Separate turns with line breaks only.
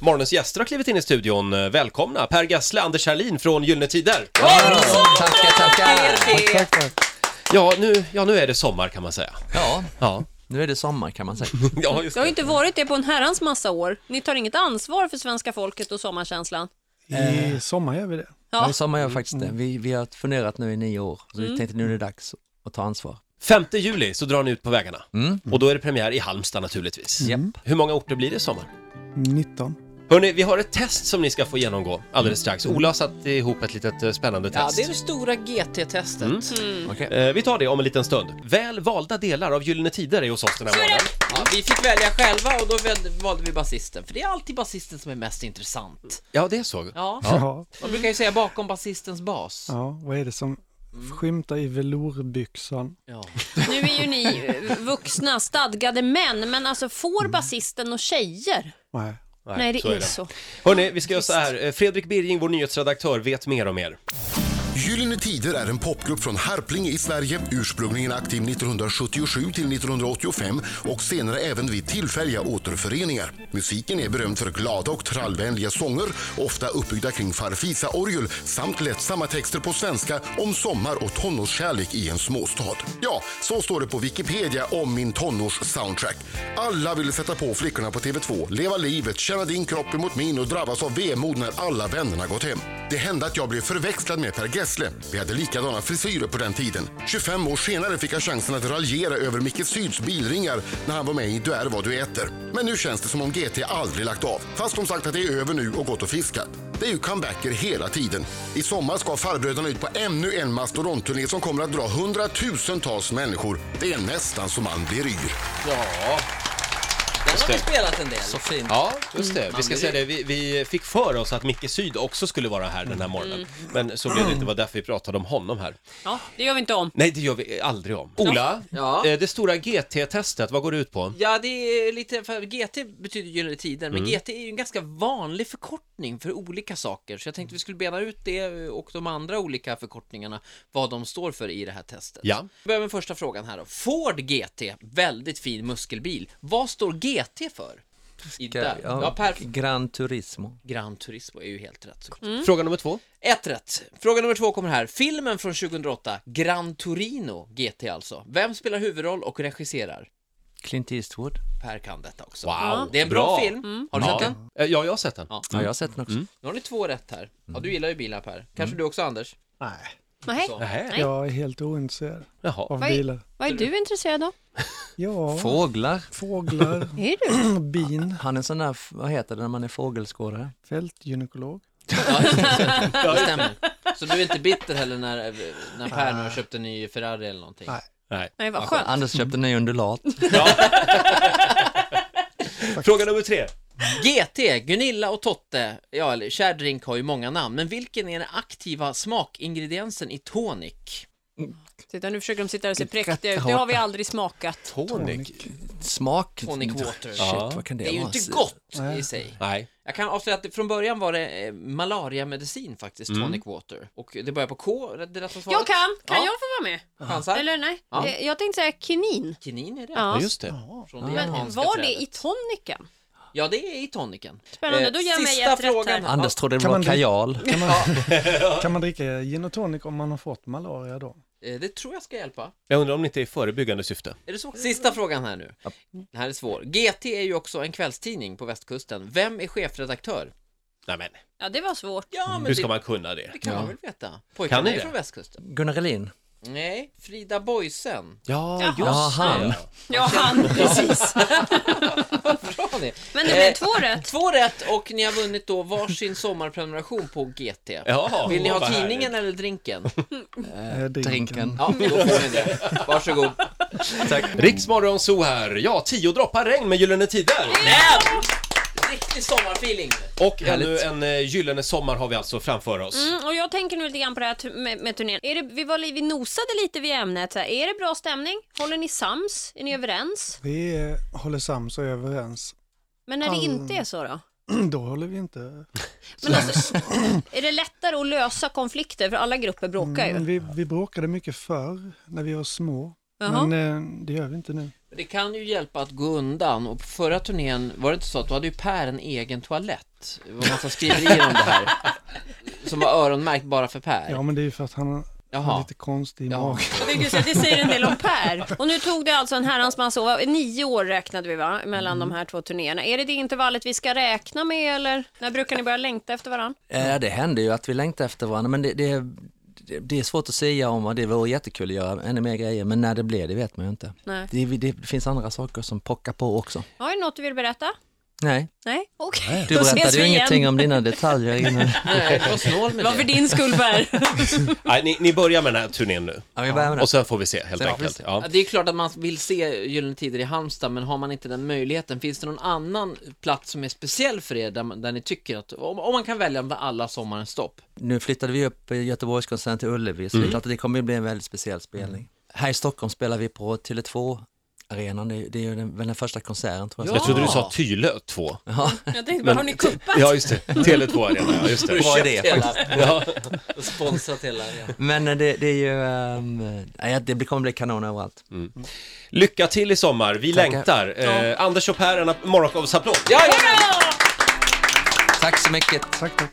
Morgonens gäster har klivit in i studion. Välkomna Per Gessle, Anders Herlin från Gyllene Tider.
Tackar, tackar!
Tack, tack.
Ja nu, ja, nu är det sommar kan man säga.
Ja,
Ja,
nu är det sommar kan man säga.
ja just
Det har ju
det.
inte varit det på en herrans massa år. Ni tar inget ansvar för svenska folket och sommarkänslan. Eh.
I sommar gör vi det.
Ja.
Ja,
I sommar gör jag faktiskt det. Vi, vi har funderat nu i nio år, så
Mm.
vi tänkte nu är det dags att ta ansvar.
5 juli så drar ni ut på vägarna. Och då är det premiär i Halmstad naturligtvis. Mm.
Japp.
Hur många orter blir det i sommar?
19.
Hörni, vi har ett test som ni ska få genomgå alldeles strax. Ola har satt ihop ett litet eh, spännande test.
Ja, det är det stora Mm. GT-testet.
Okej.
Eh, Vi tar det om en liten stund. Väl valda delar av Gyllene Tider är hos oss den här morgonen.
Ja, vi fick välja själva och då väl- valde vi basisten, för det är alltid basisten som är mest intressant.
Ja, det är så.
Ja,
Ja.
man brukar ju säga bakom basistens bas.
ja, vad är det som
Mm.
skymtar i velourbyxan?
Ja.
nu är ju ni eh, vuxna, stadgade män, men alltså får basisten och tjejer?
Nej.
Nej, det är så.
Hörni, vi ska göra så här. Eh, Fredrik Birging, vår nyhetsredaktör, vet mer om er.
Gyllene Tider är en popgrupp från Harplinge i Sverige, ursprungligen aktiv 1977 till 1985 och senare även vid tillfälliga återföreningar. Musiken är berömd för glada och trallvänliga sånger, ofta uppbyggda kring farfisa-orgel samt lättsamma texter på svenska om sommar och tonårskärlek i en småstad. Ja, så står det på Wikipedia om min tonårs-soundtrack. Alla vill sätta på flickorna på TV2, leva livet, känna din kropp emot min och drabbas av vemod när alla vännerna gått hem. Det hände att jag blev förväxlad med Per Gessle. Vi hade likadana frisyrer på den tiden. 25 år senare fick jag chansen att raljera över Micke Syds bilringar när han var med i Du är vad du äter. Men nu känns det som om GT aldrig lagt av. Fast de sagt att det är över nu och gått och fiskat. Det är ju comebacker hela tiden. I sommar ska farbröderna ut på ännu en mastodontturné som kommer att dra hundratusentals människor. Det är nästan så man blir yr.
Ja,
Den har vi spelat en del.
Så fint.
ja
Mm.
just det. Vi ska säga det, vi, vi fick för oss att Micke Syd också skulle vara här
Mm.
den här morgonen. Men så blev det inte, det var därför vi pratade om honom här.
Ja, det gör vi inte om.
Nej, det gör vi aldrig om. Ola,
Ja.
eh, det stora GT-testet, vad går det ut på?
Ja, det är lite, för GT betyder Gyllene Tider, men GT är ju en ganska vanlig förkortning för olika saker, så jag tänkte vi skulle bena ut det och de andra olika förkortningarna, vad de står för i det här testet.
Ja.
Vi börjar med första frågan här då. Ford GT, väldigt fin muskelbil. Vad står GT för? I där. Ja, per...
Gran Turismo.
Gran Turismo är ju helt rätt. såklart.
Fråga nummer två.
Ett rätt. Fråga nummer två kommer här. Filmen från 2008, Gran Torino GT alltså. Vem spelar huvudroll och regisserar?
Clint Eastwood.
Per kan detta också.
Wow,
Det är en bra, film. Har du
Ja.
sett den?
Eh, ja, jag har sett den.
Ja.
Ja, jag har sett den också.
Nu har ni två rätt här. Ja, du gillar ju bilar Per. Kanske du också Anders?
Nej.
Nej.
Nähä.
Nej.
Jag är helt ointresserad
Jaha.
av
Vad är-
bilar.
Vad är du intresserad av?
Ja,
Fåglar.
fåglar,
Är du?
bin,
Han är en sån där, vad heter det när man är fågelskådare?
fältgynekolog.
Det stämmer. Så du är inte bitter heller när, när Per nu har köpt en ny Ferrari eller någonting?
Nej.
Nej.
Nej, vad skönt.
Anders köpte en ny undulat.
Fråga nummer tre.
GT, Gunilla och Totte, ja eller kär drink har ju många namn, men vilken är den aktiva smakingrediensen i tonic?
Titta, nu försöker de sitta och se präktiga ut. Det har vi aldrig smakat.
Tonic.
Smak.
Tonic water.
Shit,
Ja.
vad kan det,
Det är ju
vara?
inte gott i sig.
Nej.
Jag kan avslöja att det- från början var det eh, malariamedicin faktiskt,
Mm.
tonic water. Och det börjar på K, det rätta svaret.
Jag kan! Kan
Ja.
jag få vara med?
Chansar.
Eller nej?
Ja.
Eh, Jag tänkte säga kinin.
Kinin är det.
Ja.
Ja, just det.
Från det
Men
japanska
var det
trädet.
i toniken?
Ja, det är i tonicen.
Spännande, då ger jag mig
sista
ett rätt
frågan.
här.
Anders trodde det
Kan
var
man-
kajal.
Kan man, kan man dricka gin och tonic om man har fått malaria då?
Eh, Det tror jag ska hjälpa.
Jag undrar om det inte är i förebyggande syfte.
Är det så? Sista frågan här nu. Den här är svår. GT är ju också en kvällstidning på västkusten. Vem är chefredaktör?
Nej, men
Ja, det var svårt.
Ja, men
hur Mm. ska
det,
man kunna det?
det kan man väl veta?
Kan
Pojkarna
ni
är
det?
från västkusten.
Gunnar Elin.
Nej, Frida Boisen.
Ja,
Jaha.
just
Ja, han.
det.
Ja, han, precis.
Bra ni.
Men det blev
Eh,
två rätt.
Två rätt och ni har vunnit då varsin sommarprenumeration på GT.
Ja,
Vill ni ha
vad härligt. Mm.
tidningen eller drinken?
Eh,
Drinken.
Ja, då får ni det. Varsågod.
Tack. Riksmorgon så här. Ja, tio droppar regn med Gyllene Tider.
Men! Riktig sommarfeeling.
Och ännu en eh, gyllene sommar har vi alltså framför oss.
Mm, och jag tänker nu lite grann på det här tu- med, med turnén. Är det, vi, var, li- vi nosade lite vid ämnet. Så här. Är det bra stämning? Håller ni sams? Är ni överens?
Vi eh, håller sams och är överens.
Men när det inte är så då?
Då håller vi inte...
Men alltså, är det lättare att lösa konflikter? För alla grupper
Mm.
bråkar ju.
Men vi, vi bråkade mycket förr när vi var små.
Jaha.
Men eh, det gör vi inte nu.
Det kan ju hjälpa att gå undan och på förra turnén var det inte så att då hade ju Per en egen toalett. Det var en massa skriverier om det här. Som var öronmärkt bara för Per.
Ja, men det är ju för att han har
Jaha.
lite konstig
Ja.
mage.
Jag tänkte säga, Det säger en del om Per. Och nu tog det alltså en herrans massa år, nio år räknade vi va, mellan de här två turnéerna. Är det det intervallet vi ska räkna med eller när brukar ni börja längta efter varandra?
Ja, det händer ju att vi längtar efter varandra, men det, det, det- det är svårt att säga om och det vore jättekul att göra ännu mer grejer, men när det blir det vet man ju inte.
Nej.
Det, det finns andra saker som pockar på också.
Har du något du vill berätta?
Nej,
Nej, okej.
du
Då ses
berättade ju
vi igen.
ingenting om dina detaljer innan.
Nej, det var snål
Det
med
var
det.
för din skull Per.
Nej, ni, ni börjar med den här turnén nu.
Ja, vi börjar med det.
Och sen får vi se helt
Ja,
enkelt.
precis.
Ja.
Ja, Det är klart att man vill se Gyllene Tider i Halmstad, men har man inte den möjligheten, finns det någon annan plats som är speciell för er, där, man- där ni tycker att, om, om man kan välja bland alla sommarens stopp?
Nu flyttade vi upp Göteborgskonserten till Ullevi, så det är klart att det kommer ju bli en väldigt speciell spelning. Här i Stockholm spelar vi på Tele2 arenan, det, är- det är ju den, väl den första konserten tror jag.
Jag trodde du sa Tylö 2.
Jag tänkte bara, har ni kuppat?
Ja, just det. Tele2 Arena, ja, just det.
Bra idé.
Ja.
Och sponsrat hela, ja.
Men eh, det, det är ju, ehm, nej, det kommer bli kanon överallt.
Lycka till i sommar, vi
Tackar.
längtar. Eh, Anders och Per, en app- morgonshowsapplåd.
ja, ja.
Tack så mycket.
Tack, tack.